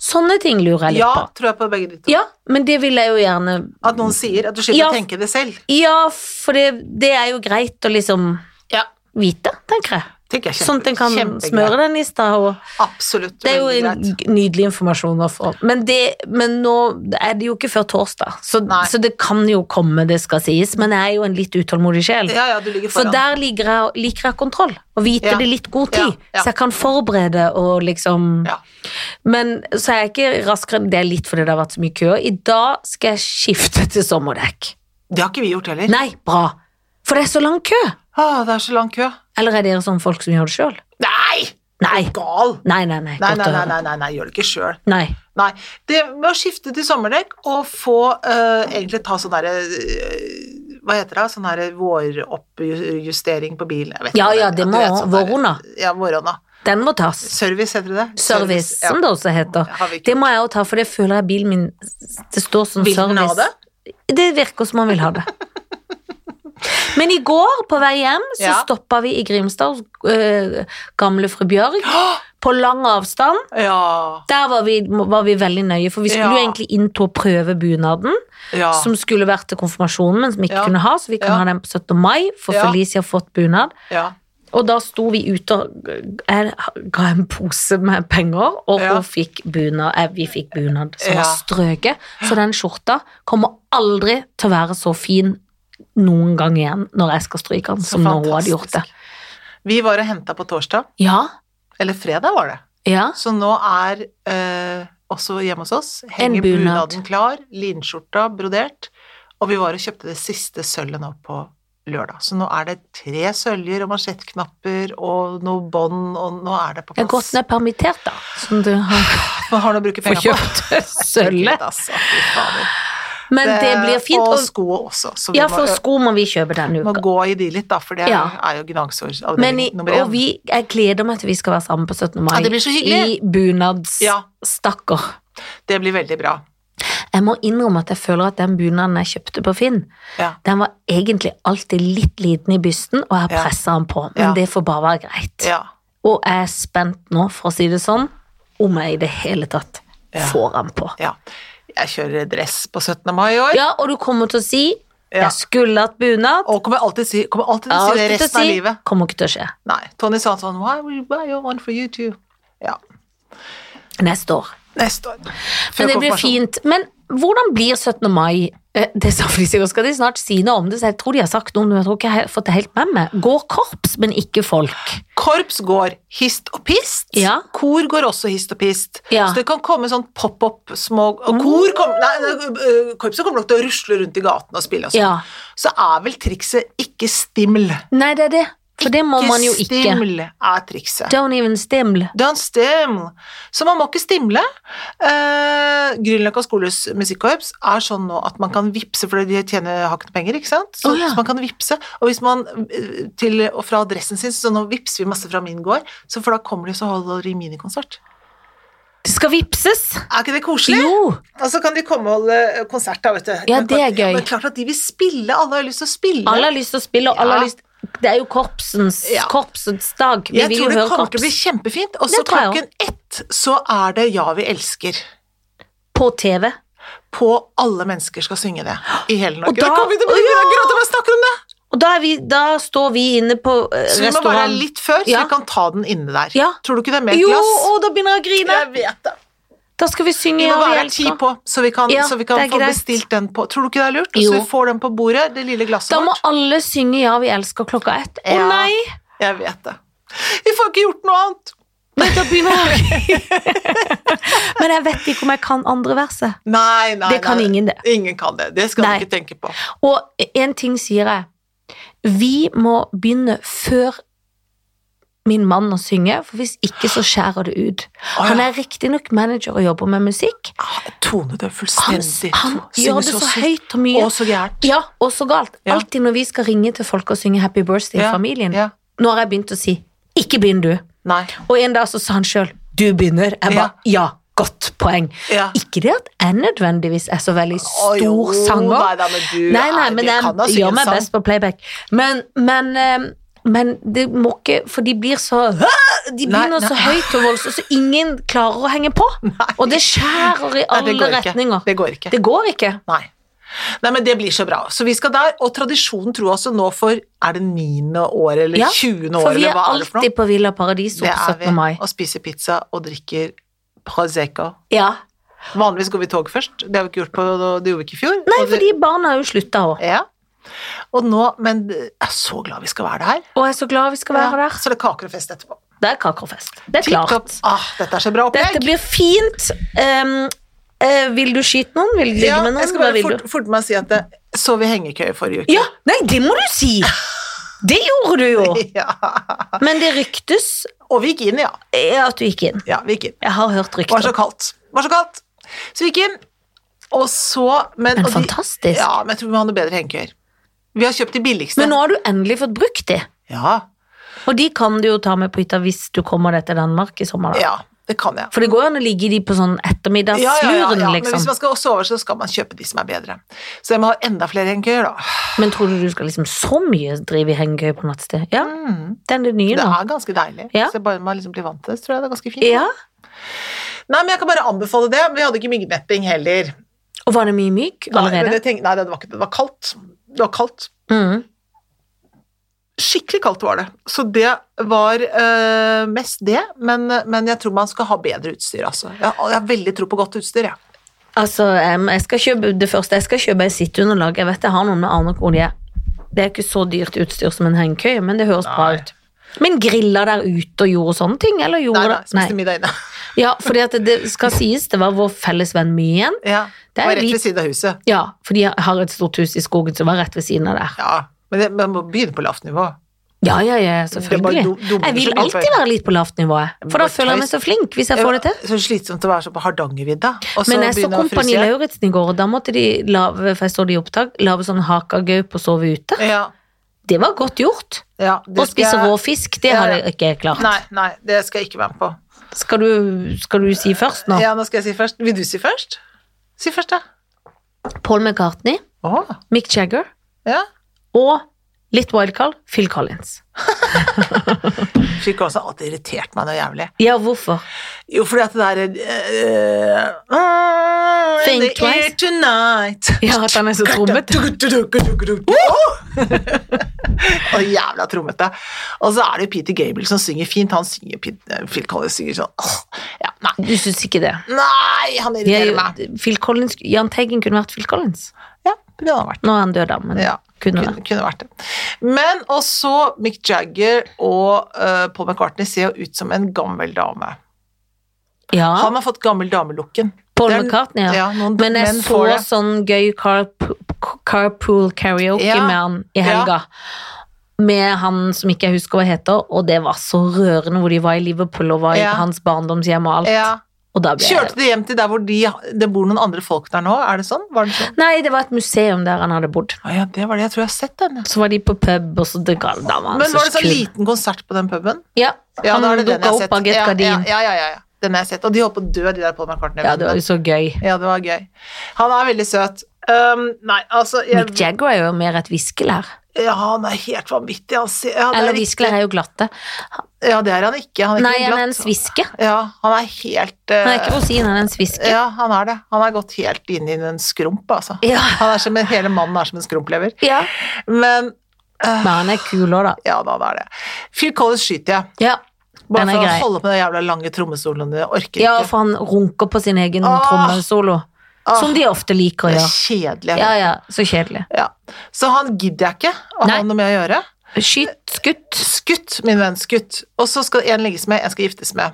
S2: Sånne ting lurer jeg litt
S1: Ja,
S2: på.
S1: tror jeg på begge de to.
S2: Ja, men det vil jeg jo gjerne
S1: At noen sier at du slipper
S2: Ja.
S1: å tenke det selv.
S2: Ja, for det, det er jo greit å liksom
S1: Ja.
S2: vite, tenker jeg.
S1: Tenker jeg
S2: Sånn at en kan
S1: kjempegreit.
S2: smøre den i stad. og-
S1: Absolutt.
S2: Det er jo
S1: veldig
S2: en
S1: greit.
S2: g- nydelig informasjon. å få. Men, det, men nå er det jo ikke før torsdag, så,
S1: Nei.
S2: så det kan jo komme, det skal sies. Men jeg er jo en litt utålmodig sjel.
S1: Ja, ja, du ligger
S2: For
S1: foran.
S2: der liker jeg, liker jeg kontroll, og vite
S1: Ja.
S2: det litt god tid.
S1: Ja, ja.
S2: Så jeg kan forberede og liksom
S1: Ja.
S2: Men så er jeg ikke raskere, det er litt fordi det har vært så mye køer. I dag skal jeg skifte til sommerdekk.
S1: Det har ikke vi gjort heller.
S2: Nei, bra! For det er så lang kø!
S1: Å, det er så lang kø.
S2: Eller er dere sånn folk som gjør det sjøl?
S1: Nei!
S2: Nei.
S1: Gal!
S2: Nei, nei, nei.
S1: Nei,
S2: godt
S1: nei,
S2: å
S1: nei,
S2: høre.
S1: nei, nei, nei gjør det ikke sjøl.
S2: Nei.
S1: Nei. Det med å skifte til sommerdekk og få eh, egentlig ta sånn derre eh, Hva heter det? Sånn derre våroppjustering på bilen. Jeg vet
S2: Ja,
S1: ikke hva
S2: ja,
S1: er. Du
S2: det må-
S1: vet, sånn der-
S2: våronna.
S1: Ja, våronna.
S2: Den må tas.
S1: Service heter det det.
S2: Service,
S1: ja.
S2: som det også heter.
S1: Har vi ikke
S2: Det må jeg jo ta, for det føler jeg bilen min Det står som
S1: Vil den
S2: service.
S1: ha
S2: det? virker som han vil ha det. Men i går, på vei hjem, så
S1: Ja.
S2: stoppa vi i Grimstad hos øh, gamle fru Bjørg.
S1: Åh!
S2: På lang avstand.
S1: Ja.
S2: Der var vi, var vi veldig nøye, for vi skulle
S1: Ja.
S2: jo egentlig inn til å prøve bunaden.
S1: ja.
S2: Som skulle vært til konfirmasjonen, men som vi ikke
S1: Ja.
S2: kunne ha. Så vi kan
S1: Ja.
S2: ha den på 17. mai, for
S1: Ja.
S2: Felicia har fått bunad.
S1: ja.
S2: Og da sto vi ute og jeg ga en pose med penger, og
S1: Ja.
S2: hun fikk bunad, eh, vi fikk bunad som
S1: Ja.
S2: var strøket. Så den skjorta kommer aldri til å være så fin noen gang igjen når jeg skal stryke den,
S1: Så
S2: som når hun hadde gjort det.
S1: fantastisk. Vi var og henta på torsdag.
S2: Ja,
S1: Eller fredag var det.
S2: ja,
S1: Så nå er eh, også hjemme hos oss henger
S2: En bunad.
S1: bunaden klar, linskjorta brodert, og vi var og kjøpte det siste sølvet nå på lørdag. Så nå er det tre søljer og mansjettknapper og noe bånd, og nå er det på
S2: jeg er
S1: plass.
S2: godt ned permittert da, som du har
S1: Man har noe å bruke
S2: fått
S1: penger på.
S2: kjøpt
S1: Herregud,
S2: sølvet.
S1: altså, fy fader. Eh,
S2: Men det blir fint.
S1: Og
S2: Og,
S1: sko også, så vi
S2: ja,
S1: må,
S2: for sko må vi kjøpe denne
S1: må
S2: uka.
S1: gå i de litt, da, for det er,
S2: Ja.
S1: er jo
S2: Men i,
S1: gnagsårsavdeling nummer én.
S2: og vi, jeg gleder meg til vi skal være sammen på 17. mai.
S1: Ja, det blir så hyggelig.
S2: I
S1: Ja.
S2: bunadsstakker.
S1: Det blir veldig bra.
S2: Jeg må innrømme at jeg føler at den bunaden jeg kjøpte på Finn,
S1: Ja.
S2: den var egentlig alltid litt liten i bysten, og jeg
S1: Ja.
S2: presset den på. Men
S1: Ja.
S2: det får bare være greit.
S1: ja.
S2: Og jeg er spent nå, for å si det sånn, om jeg i det hele tatt
S1: Ja.
S2: får den på.
S1: Ja. Jeg kjører dress på 17. mai i år.
S2: Ja, og du kommer til å si
S1: Ja.
S2: 'jeg skulle hatt bunad'.
S1: Og kommer alltid, si, kommer alltid til å si det
S2: Alltid til å
S1: resten av livet.
S2: Kommer ikke til å skje.
S1: Nei. Tony sa sånn Why will you buy one for you too? Ja.
S2: Neste år.
S1: Neste år. Før
S2: Men det blir
S1: konfirmasjon.
S2: fint. Men hvordan blir 17. mai? Eh, Det sa de sikkert, skal de snart si noe om det, så jeg tror de har sagt noe, men jeg tror ikke jeg har fått det helt med meg. Går korps, men ikke folk.
S1: Korps går hist og pist.
S2: Ja.
S1: Kor går også hist og pist.
S2: Ja. Mm.
S1: Så det kan komme sånn pop-up små Og kor kom, nei, nei, øh, korpset kommer nok til å rusle rundt i gaten og spille og sånn.
S2: Ja.
S1: Så er vel trikset ikke stiml.
S2: Nei, det er det. For det må man jo ikke.
S1: stiml er trikset.
S2: Don't even stimle.
S1: Don't stimle. Så man må ikke stimle. Uh, Grünerløkka skoles musikkorps er sånn nå at man kan vippse, for de tjener har ikke noe penger, ikke sant? Så,
S2: Å, ja.
S1: så man kan vippse. Og hvis man eh, til og fra adressen sin, så nå vippser vi masse fra min gård, så for da kommer de og så holder de minikonsert.
S2: Det skal vipses.
S1: Er ikke det koselig?
S2: Jo.
S1: Og så kan de komme og holde eh, konsert, da, vet du.
S2: Ja, det er gøy.
S1: Men det er klart at de vil spille, alle har lyst til å spille.
S2: Alle har lyst til å spille, og alle
S1: Ja.
S2: har lyst Det er jo korpsens,
S1: Ja.
S2: korpsens dag. Vi
S1: jeg
S2: vil jo
S1: tror det
S2: høre
S1: kommer til å
S2: korps
S1: bli kjempefint. Og så
S2: Det tror jeg
S1: klokken ett så er det Ja, vi elsker.
S2: på TV.
S1: på alle mennesker skal synge det i hele Norge.
S2: Og da-
S1: det kommer vi til å bli,
S2: Å, ja!
S1: Jeg gråter bare jeg snakker om det!
S2: Og da, er vi, da står vi inne på eh,
S1: Så vi må bare
S2: restaurant.
S1: litt før, så
S2: Ja.
S1: vi kan ta den inne der.
S2: Ja.
S1: Tror du ikke det er mer
S2: Jo,
S1: glass?
S2: og da begynner jeg å grine.
S1: Jeg vet det.
S2: Da skal vi synge
S1: Vi må
S2: Ja, vi
S1: være ti
S2: elsker.
S1: på, så vi kan,
S2: Ja,
S1: så vi kan
S2: det er
S1: få
S2: greit.
S1: bestilt den på Tror du ikke det er lurt?
S2: Jo.
S1: Så vi får den på bordet, det lille glasset
S2: Da må
S1: vårt.
S2: alle synge Ja, vi elsker klokka ett. Å
S1: Ja.
S2: nei!
S1: Jeg vet det. Vi får ikke gjort noe annet.
S2: Nei, da begynner jeg Men jeg vet ikke om jeg kan andre verset.
S1: Nei, nei,
S2: Det kan
S1: nei.
S2: ingen det.
S1: Ingen kan det. Det skal
S2: Nei.
S1: du ikke tenke på.
S2: Og en ting sier jeg. Vi må begynne før min mann å synge, for hvis ikke så skjærer det ut.
S1: Å,
S2: Han
S1: ja.
S2: er riktignok manager og jobber med musikk.
S1: Ah, Tone det er
S2: Han,
S1: fullstendig
S2: han
S1: Synger
S2: gjør det så
S1: sykt.
S2: høyt og mye.
S1: Og så gærent.
S2: Ja, og så galt.
S1: Ja.
S2: Alltid når vi skal ringe til folk og synge Happy Birthday i
S1: Ja,
S2: familien,
S1: ja.
S2: nå har jeg begynt å si 'ikke begynn, du'.
S1: Nei.
S2: Og en dag så sa han sjøl 'du begynner'. Jeg
S1: Ja.
S2: bare 'ja, godt poeng.
S1: Ja.
S2: Ikke det at jeg nødvendigvis er så veldig
S1: Å,
S2: stor
S1: jo,
S2: sanger.
S1: Nei, da, men du,
S2: Nei, nei,
S1: er-
S2: men
S1: du kan da
S2: jeg
S1: synge
S2: gjør
S1: en
S2: meg
S1: sang.
S2: best på playback. Men, men, eh, men det må ikke For de blir så De
S1: Nei,
S2: begynner
S1: nei.
S2: så høyt og voldsomt, så ingen klarer å henge på. Og det skjærer i
S1: Nei, det
S2: alle
S1: går ikke.
S2: retninger.
S1: Det går ikke.
S2: Det går ikke.
S1: Nei. Nei, men det blir så bra. Så vi skal der, og tradisjonen tror jeg også nå for Er det 9. år eller
S2: Ja,
S1: 20. år,
S2: For vi
S1: eller
S2: er
S1: hva er det for noe?
S2: alltid på Villa Paradiso
S1: Det
S2: på
S1: er
S2: 17.
S1: vi.
S2: mai.
S1: Og spiser pizza og drikker prosecco.
S2: Ja,
S1: Vanligvis går vi tog først. Det har vi ikke gjort på Det gjorde vi ikke i fjor.
S2: Nei,
S1: Og det-
S2: fordi barna har jo slutta òg.
S1: Ja. Og nå Men jeg er så glad vi skal være der.
S2: Og jeg er så glad vi skal være
S1: Ja,
S2: der.
S1: Så det er kaker og fest etterpå.
S2: Det er kakerfest. Det er
S1: Tipp topp.
S2: klart.
S1: Ah, dette er så bra opplegg.
S2: Dette blir fint. Um, eh, vil du skyte noen? Vil du ligge
S1: ja, jeg
S2: med noen?
S1: skal
S2: Hva
S1: bare
S2: vil du?
S1: fort, forte meg å si at det, så vi hengekøye forrige uke.
S2: Ja, nei, det må du si! Det gjorde du jo!
S1: Ja.
S2: Men det ryktes
S1: Og vi gikk inn, ja.
S2: eh, at du gikk inn.
S1: Ja, vi gikk inn.
S2: Jeg har hørt
S1: Det var så
S2: rykter.
S1: kaldt. Det var så kaldt. Så vi gikk inn, og så Men,
S2: Men
S1: og de-
S2: fantastisk.
S1: Ja, men jeg tror vi må ha noe bedre hengekøyer. Vi har kjøpt de billigste.
S2: Men nå har du endelig fått brukt de.
S1: ja,
S2: Og de kan du jo ta med på hytta hvis du kommer deg til Danmark i sommer. da.
S1: ja, det kan jeg.
S2: For det går jo an å ligge i de på sånn ettermiddagsluren,
S1: Ja, ja, ja, ja. Men hvis
S2: liksom.
S1: man skal sove, så skal man kjøpe de som er bedre. Så jeg må ha enda flere hengekøyer, da.
S2: Men tror du du skal liksom så mye drive i hengekøye på nattsted? Ja, det er det nye
S1: Mm. Det
S2: nå.
S1: er ganske deilig.
S2: Ja.
S1: Så bare man liksom blir vant til det, så tror jeg det er ganske fint.
S2: Ja,
S1: Nei, men jeg kan bare anbefale det. Vi hadde ikke myggnepping heller.
S2: Og var det mye myk
S1: Nei, men
S2: allerede?
S1: det, tenk, nei, det var ikke det. Det var kaldt. Det var kaldt.
S2: Mm.
S1: Skikkelig kaldt var det. Så det var eh, mest det, men, men jeg tror man skal ha bedre utstyr, altså. Jeg, jeg har veldig tro på godt utstyr, jeg.
S2: Altså, em, jeg skal kjøpe det første jeg skal kjøpe, er sitteunderlag. Jeg vet jeg har noen med aner ikke hvor de er. Det er ikke så dyrt utstyr som en hengekøye, men det høres bra
S1: Nei.
S2: ut. Men grilla der ute og gjorde sånne ting, eller
S1: Nei,
S2: gjorde
S1: nei,
S2: det?
S1: spiste middag inne.
S2: Ja, fordi at det, det skal sies, det var vår felles venn Myen.
S1: Ja.
S2: Det
S1: Det
S2: er
S1: var rett
S2: vi-
S1: ved siden av huset.
S2: Ja, for de har et stort hus i skogen som var rett ved siden av der.
S1: Ja, men det, man må begynne på lavt nivå.
S2: Ja, ja, ja,
S1: Det er
S2: selvfølgelig.
S1: bare dum- dummere
S2: Jeg vil
S1: som
S2: alltid
S1: innfører.
S2: være litt på lavt nivå, jeg. for da føler jeg meg så flink hvis jeg får det til.
S1: Så slitsomt å være så på Hardangervidda. og
S2: Men jeg så
S1: begynne å
S2: Kompani
S1: fryse.
S2: Lauritzen i går, og da måtte de lave, for jeg så det i opptak, lave sånn hakagaup og sove ute.
S1: Ja,
S2: Det var godt gjort.
S1: ja,
S2: Å spise
S1: jeg-
S2: rå fisk, det
S1: Ja,
S2: hadde
S1: ja.
S2: jeg ikke klart.
S1: Nei, nei, det skal jeg ikke være med på.
S2: Skal du, skal du si først nå?
S1: Ja, nå skal jeg si først. Vil du si først? Si først, da.
S2: Paul McCartney,
S1: Å,
S2: Mick Jagger
S1: ja.
S2: og litt wildcard, Phil Collins.
S1: Fikk også alltid irritert meg noe jævlig.
S2: Ja, hvorfor?
S1: Jo, fordi at det der eh, eh,
S2: Think
S1: in the
S2: twice.
S1: air tonight.
S2: Ja, at han er så trommete.
S1: Å, jævla trommete. Og så er det Peter Gable som synger fint. Han synger Pete- Phil Collins synger sånn åh, ja, nei.
S2: Du syns ikke det?
S1: nei, han
S2: Vi er
S1: irriterer
S2: jo-
S1: meg.
S2: Phil Collins, Jahn Teigen kunne vært Phil Collins.
S1: Ja, det kunne han vært.
S2: Nå er han død, da, men
S1: Ja,
S2: kunne
S1: kunne,
S2: det.
S1: kunne vært det. Men også Mick Jagger og eh, Paul McCartney ser jo ut som en gammel dame.
S2: Ja,
S1: Han har fått gammel damelooken.
S2: Paul
S1: Det er-
S2: McCartney, ja.
S1: ja, noen
S2: Men jeg
S1: menn
S2: så
S1: får det.
S2: sånn gøy carp carpool karaoke
S1: Ja.
S2: med han i helga. Med han som ikke jeg husker hva heter, og det var så rørende hvor de var i Liverpool og var i
S1: Ja.
S2: hans barndomshjem og alt.
S1: Ja.
S2: Og da ble jeg
S1: Kjørte de hjem til der hvor de, det bor noen andre folk der nå? Er det sånn? Var det sånn?
S2: Nei, det var et museum der han hadde bodd.
S1: Å ja, det var det. Jeg tror jeg har sett den. ja.
S2: Så var de på pub, og så det ga da var han
S1: Men var det sånn
S2: kul.
S1: liten konsert på den puben?
S2: Ja,
S1: Ja, da er
S2: han
S1: det den jeg
S2: dukka
S1: har
S2: opp
S1: sett.
S2: av gardin. Ja,
S1: Ja, ja, ja, ja, ja. Den har jeg sett. Og de holdt på å dø, de der Paul McCartney.
S2: det var jo så gøy.
S1: ja, det var gøy. Han er veldig søt. Um, nei, altså jeg,
S2: Mick Jagger er jo mer et viskelær.
S1: Ja, han er helt vanvittig. Han ser, ja, det er
S2: Eller
S1: riktig.
S2: viskelær er jo glatte.
S1: Ja, det er han ikke. Han er
S2: Nei,
S1: ikke
S2: han er en
S1: glatt.
S2: sviske.
S1: Ja, han er helt
S2: Han er
S1: uh,
S2: ikke rosin, han er en sviske.
S1: Ja, han er det. Han er gått helt inn i en skrump, altså.
S2: Ja.
S1: Han er som en, hele mannen er som en skrumplever.
S2: Ja.
S1: Men
S2: Men han er kul òg, da.
S1: ja, da, det er det. Phil Collins skyter jeg.
S2: Ja,
S1: Bare
S2: den er
S1: for
S2: grei.
S1: å holde på den jævla lange trommestolen. Jeg orker
S2: Ja,
S1: ikke. Ah.
S2: for han runker på sin egen
S1: Åh.
S2: trommesolo.
S1: Åh.
S2: Som de ofte liker å
S1: Det er
S2: gjøre.
S1: kjedelig.
S2: Ja, ja, så kjedelig.
S1: Ja. Så han gidder jeg ikke å
S2: Nei.
S1: ha noe med å gjøre.
S2: Skyt, skutt.
S1: Skutt, min venn, skutt. Og så skal en legges med, en skal giftes med.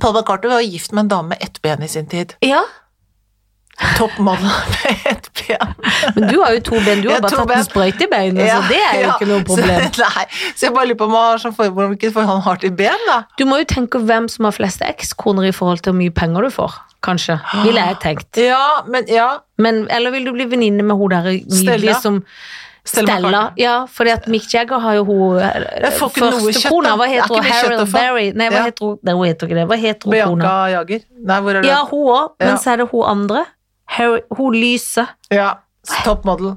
S1: Paul McCartney var jo gift med en dame med ett ben i sin tid.
S2: Ja,
S1: Top model med ett ben.
S2: men du har jo to ben. Du har
S1: Jeg
S2: bare
S1: tror
S2: tatt en
S1: ben-
S2: sprøyte i beinet,
S1: Ja,
S2: så det er jo
S1: ja.
S2: ikke noe problem.
S1: Så, nei. så jeg bare lurer på om han har sånn forhold, hvordan- hvilket forhold han har til ben, da.
S2: Du må jo tenke hvem som har flest ekskoner i forhold til hvor mye penger du får. Kanskje, ville jeg tenkt.
S1: Ja, men ja.
S2: Men, eller vil du bli venninne med hun der nydelige
S1: Stella.
S2: som
S1: Stella
S2: Stella.
S1: McCartney.
S2: Ja, fordi at Mick Jagger har jo hun eh,
S1: får ikke noe
S2: første
S1: kjøtt,
S2: kona.
S1: da.
S2: Hva
S1: Jeg har
S2: heter
S1: ikke
S2: hun?
S1: mye kjøtt å
S2: Harold
S1: få.
S2: Berry? Nei, hva
S1: Ja.
S2: heter hun? Nei, hun heter ikke det. Hva heter hun
S1: Bianca
S2: kona?
S1: Jager. Nei, hvor er det?
S2: Ja, hun òg, men
S1: Ja.
S2: så er det hun andre. Harry, hun lyse.
S1: Ja. Top model.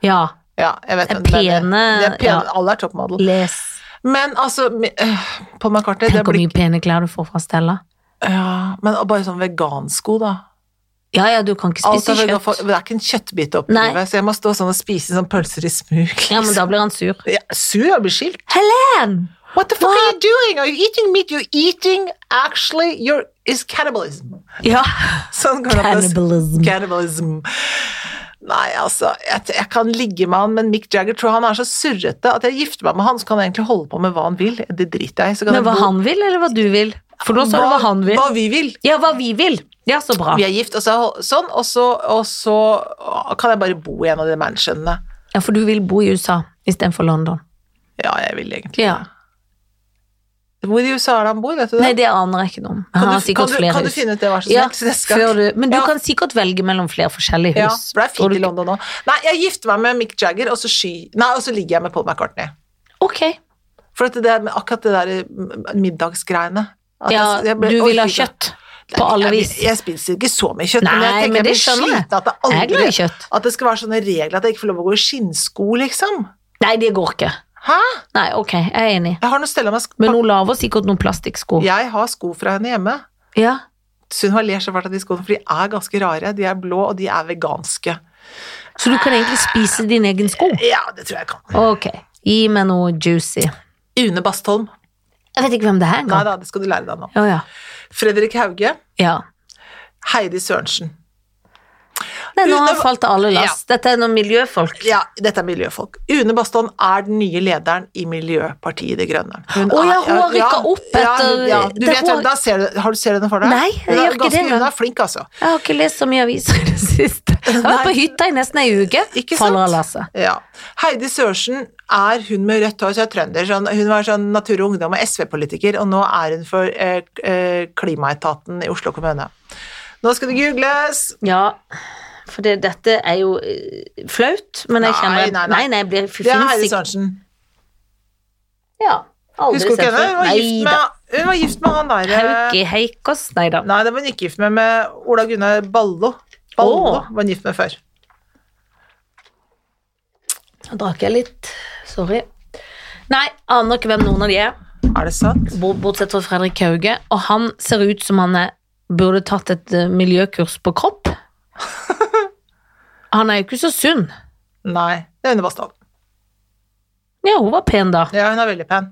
S2: Ja.
S1: Ja, jeg vet
S2: Det er
S1: hvem det er.
S2: pene-
S1: Det er pene.
S2: ja.
S1: Alle er top model.
S2: Les.
S1: Men altså øh, Paul McCartney, det
S2: Tenk hvor
S1: blir
S2: mye pene klær du får fra Stella.
S1: ja, Men bare sånn vegansko, da.
S2: Ja, ja, du kan ikke
S1: Alt
S2: spise
S1: er vegan, for-
S2: kjøtt.
S1: det er ikke en kjøttbit oppi
S2: Nei.
S1: livet, så jeg må stå sånn og spise sånn pølser i smug.
S2: Ja, men da blir han sur.
S1: Ja, sur, jeg blir skilt.
S2: Helen!
S1: What the fuck are you doing? Are you eating meat? You're eating actually you're, is cannibalism.
S2: Ja.
S1: Sånn går det an å si.
S2: Cannibalism.
S1: Cannibalism. Nei, altså, jeg, jeg kan ligge med han, men Mick Jagger tror han er så surrete at jeg gifter meg med han, så kan han egentlig holde på med hva han vil. Det driter jeg i. så kan
S2: Men
S1: jeg
S2: hva
S1: bo-
S2: han vil, eller hva du vil? For nå sa du hva han vil.
S1: Hva vi vil.
S2: Ja, hva vi vil. Ja, så bra.
S1: Vi er gift, og så, sånn, og så, og så kan jeg bare bo i en av de mansionene.
S2: Ja, for du vil bo i USA istedenfor London.
S1: Ja, jeg vil egentlig
S2: Ja.
S1: Hvor i USA er det han bor, vet du det?
S2: Nei, det aner jeg ikke noe om. Men
S1: Kan
S2: Han
S1: du-
S2: har sikkert
S1: kan du-
S2: flere
S1: kan du
S2: hus.
S1: finne ut det, vær så
S2: Ja,
S1: snill, så jeg skal-
S2: før du, men du
S1: Ja.
S2: kan sikkert velge mellom flere forskjellige
S1: ja,
S2: hus.
S1: for det er fint
S2: Og du-
S1: i London nå. Nei, jeg gifter meg med Mick Jagger, og så, sky, nei, og så ligger jeg med Paul McCartney.
S2: Ok.
S1: For at det er med akkurat det der mm, middagsgreiene. At altså,
S2: Ja,
S1: jeg- jeg ble-
S2: du
S1: orker
S2: vil ha
S1: ikke.
S2: kjøtt på alle
S1: jeg,
S2: vis.
S1: Jeg, jeg spiser ikke så mye kjøtt, men
S2: Nei,
S1: jeg tenker jeg
S2: men det
S1: blir
S2: skjønner jeg.
S1: sliten at det
S2: Jeg er glad i
S1: aldri
S2: kjøtt.
S1: At det skal være sånne regler at jeg ikke får lov å gå i skinnsko, liksom.
S2: Nei, det går ikke.
S1: Hæ?
S2: Nei, ok, jeg er enig.
S1: Jeg har noe stell av meg
S2: Men hun lager sikkert noen plastikksko.
S1: Jeg har sko fra henne hjemme.
S2: Ja.
S1: Sunniva ler så fælt av de skoene, for de er ganske rare. De er blå, og de er veganske.
S2: Så du kan egentlig spise din egen sko.
S1: Ja, det tror jeg jeg kan.
S2: Ok, gi meg noe juicy. Jeg
S1: Une Bastholm.
S2: vet ikke hvem det
S1: Nei
S2: er engang.
S1: da, det skal du lære deg nå.
S2: Ja, ja.
S1: Fredrik Hauge.
S2: ja.
S1: Heidi Sørensen.
S2: Nei, nå har
S1: Uten å-
S2: jeg falt av alle last. Dette er noen miljøfolk.
S1: Ja, dette er miljøfolk. Une Bastholm er den nye lederen i Miljøpartiet De Grønne. Hun
S2: Å ja, hun har
S1: er- ja,
S2: rykket opp
S1: ja, hun-
S2: etter-
S1: ja, Du
S2: det
S1: vet
S2: var-
S1: hvem, da ser du, Har du ser du henne for deg?
S2: Nei, jeg
S1: Hun er
S2: gjør ikke det
S1: ganske- Hun
S2: engang.
S1: er flink, altså.
S2: Jeg har ikke lest så mye aviser i det siste. Jeg har vært på hytta i nesten ei uke.
S1: Ikke sant?
S2: Faller av lasset.
S1: Ja. Heidi Sørensen er hun med rødt hår, så er trønder. Sånn, hun var sånn Natur og Ungdom og SV-politiker, og nå er hun for eh, k- eh, Klimaetaten i Oslo kommune. Nå skal det googles!
S2: Ja, for det, dette er jo eh, flaut, men
S1: Nei,
S2: jeg kjenner
S1: nei, nei.
S2: Nei, nei, jeg blir
S1: Det er Heidi
S2: fins ikke
S1: Sørensen.
S2: ja, aldri
S1: Husker du ikke henne?
S2: sett
S1: Hun
S2: før.
S1: var gift
S2: Nei da.
S1: med, hun var gift med han derre
S2: Hauki Heikås, nei da.
S1: Nei, det var hun ikke gift med, med Ola Gunnar Ballo. Ballo
S2: Åh.
S1: var hun gift med før.
S2: Nå drakk jeg litt. Sorry. Nei, aner ikke hvem noen av de er.
S1: Er det sant?
S2: Bort- Bortsett fra Fredrik Hauge. Og han ser ut som han er, burde tatt et eh, miljøkurs på kropp. Han er jo ikke så sunn.
S1: Nei. Det er Une Bastholm.
S2: Ja, hun var pen da.
S1: Ja, hun er veldig pen.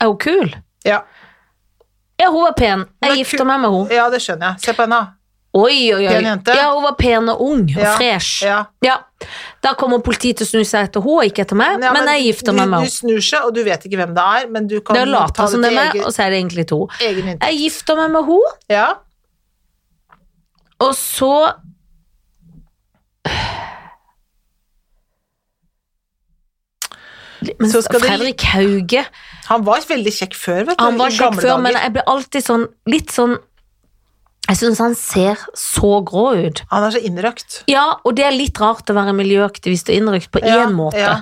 S2: Er hun kul?
S1: Ja,
S2: Ja, hun var pen.
S1: Hun er
S2: Jeg gifter
S1: kul.
S2: meg med henne.
S1: ja det skjønner jeg. Se på henne.
S2: Oi, oi, oi.
S1: Pen jente.
S2: Ja, hun var pen og ung og
S1: Ja,
S2: fresh.
S1: ja.
S2: Da kommer politiet til å snu seg etter henne, og ikke etter meg,
S1: Ja,
S2: men jeg gifter meg med
S1: Du, du
S2: henne.
S1: snur seg, og du vet ikke hvem det er, men du kan
S2: Det er å late
S1: ta
S2: som det
S1: til
S2: er altså. meg,
S1: egen,
S2: og så er det egentlig to.
S1: egen inntekt.
S2: Jeg gifter meg med henne,
S1: Ja.
S2: og så Men
S1: Så skal det-
S2: Fredrik Hauge
S1: Han var veldig kjekk før, vet du.
S2: Han var
S1: i
S2: kjekk
S1: gamle
S2: før,
S1: dager.
S2: men jeg ble alltid sånn litt sånn Jeg syns han ser så grå ut.
S1: Han er så innrøkt.
S2: Ja, og det er litt rart å være miljøaktivist og innrykt på én
S1: Ja,
S2: måte.
S1: ja.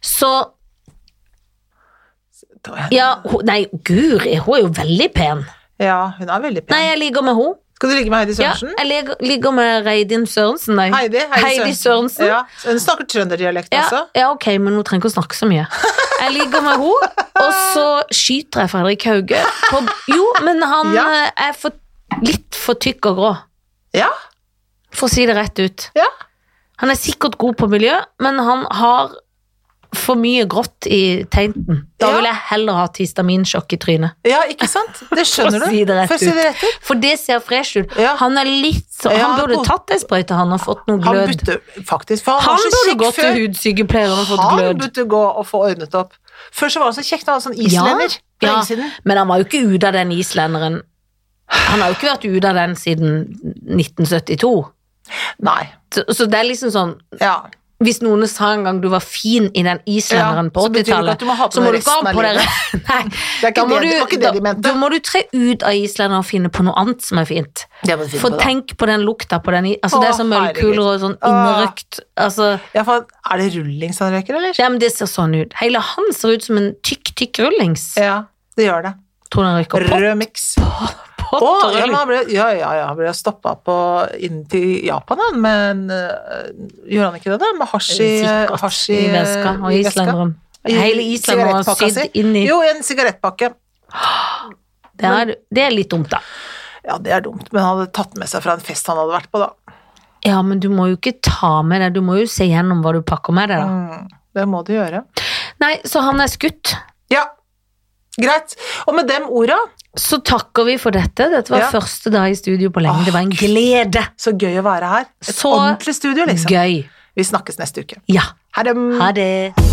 S2: Så
S1: Da er-
S2: ja, hun, Nei, guri, hun er jo veldig pen.
S1: Ja, hun er veldig pen.
S2: Nei, jeg ligger med henne.
S1: Skal du ligge med Heidi
S2: Ja,
S1: Sørensen?
S2: jeg ligger, ligger med Reidin Sørensen, nei.
S1: Heidi, Heidi,
S2: Heidi Sørensen.
S1: Ja. Hun snakker trønderdialekt
S2: Ja,
S1: også.
S2: ja, ok, men hun trenger ikke å snakke så mye. Jeg ligger med henne, og så skyter jeg Fredrik Hauge. På, jo, men han
S1: Ja.
S2: eh, er for, litt for tykk og grå,
S1: Ja.
S2: for å si det rett ut.
S1: ja.
S2: Han er sikkert god på miljø, men han har for mye grått i teinten. Da
S1: Ja.
S2: vil jeg heller ha et histaminsjokk i trynet.
S1: Ja, ikke sant? Det skjønner du.
S2: For å si det rett
S1: For å si
S2: ut.
S1: det rett ut.
S2: For det ser fresh ut.
S1: Ja.
S2: Han er litt så,
S1: Ja,
S2: han burde
S1: god.
S2: tatt ei sprøyte, han har fått noe
S1: Han
S2: glød.
S1: burde faktisk For han,
S2: Han
S1: var så
S2: burde
S1: kjekk før.
S2: gått til hudsykepleier og fått
S1: Han
S2: glød.
S1: burde gå og få ordnet opp. Før så var han så kjekk, da. Han var sånn islender. på
S2: Ja,
S1: innsiden.
S2: men han var jo ikke ute av den islenderen. Han har jo ikke vært ute av den siden 1972.
S1: Nei.
S2: Så, så det er liksom sånn
S1: Ja.
S2: Hvis noen sa en gang du var fin i den islenderen
S1: Ja,
S2: på
S1: så betyr det ikke at
S2: 80-tallet,
S1: du må ha på
S2: så
S1: deg
S2: må du ikke
S1: resten
S2: ha
S1: av
S2: på deg
S1: livet.
S2: Nei,
S1: Det er ikke det-
S2: da må
S1: det var
S2: du-
S1: ikke det de
S2: da-
S1: mente.
S2: Da må du tre ut av islenderen og finne på noe annet som er fint.
S1: Det må du finne
S2: For
S1: på, da.
S2: tenk på den lukta på den i- Altså,
S1: Å,
S2: det er sånn mølkuler og sånn innerøkt Altså,
S1: Ja, for er det rullings han røyker, eller?
S2: ja, men det ser sånn ut. Hele han ser ut som en tykk, tykk rullings.
S1: Ja, det gjør det.
S2: Tror du han røyker pop?
S1: Rød miks.
S2: pop
S1: Å,
S2: og
S1: ja, men
S2: rull.
S1: han ble, ja, ja, ja, han ble stoppa på inn til Japan, han, men øh, gjorde han ikke det, da? Med hasj i
S2: Sikkert.
S1: hasj
S2: I veska. Og
S1: i veska?
S2: islenderen.
S1: I
S2: Hele islenderen var
S1: sigarettpakka
S2: sydd
S1: si.
S2: inn i
S1: Jo, en sigarettpakke.
S2: det er, det er litt dumt, da.
S1: Ja, det er dumt, men han hadde tatt med seg fra en fest han hadde vært på, da.
S2: Ja, men du må jo ikke ta med deg, du må jo se gjennom hva du pakker med deg, da.
S1: Mm, det må du gjøre.
S2: Nei, så han er skutt.
S1: Ja, greit. Og med dem orda,
S2: Så takker vi for dette. Dette var
S1: Ja.
S2: første dag i studio på lenge.
S1: Åh,
S2: Det var en
S1: Gud.
S2: glede.
S1: så gøy å være her. Et
S2: Så
S1: ordentlig studio, liksom.
S2: Gøy.
S1: Vi snakkes neste uke.
S2: Ja.
S1: Ha det.
S2: Ha det.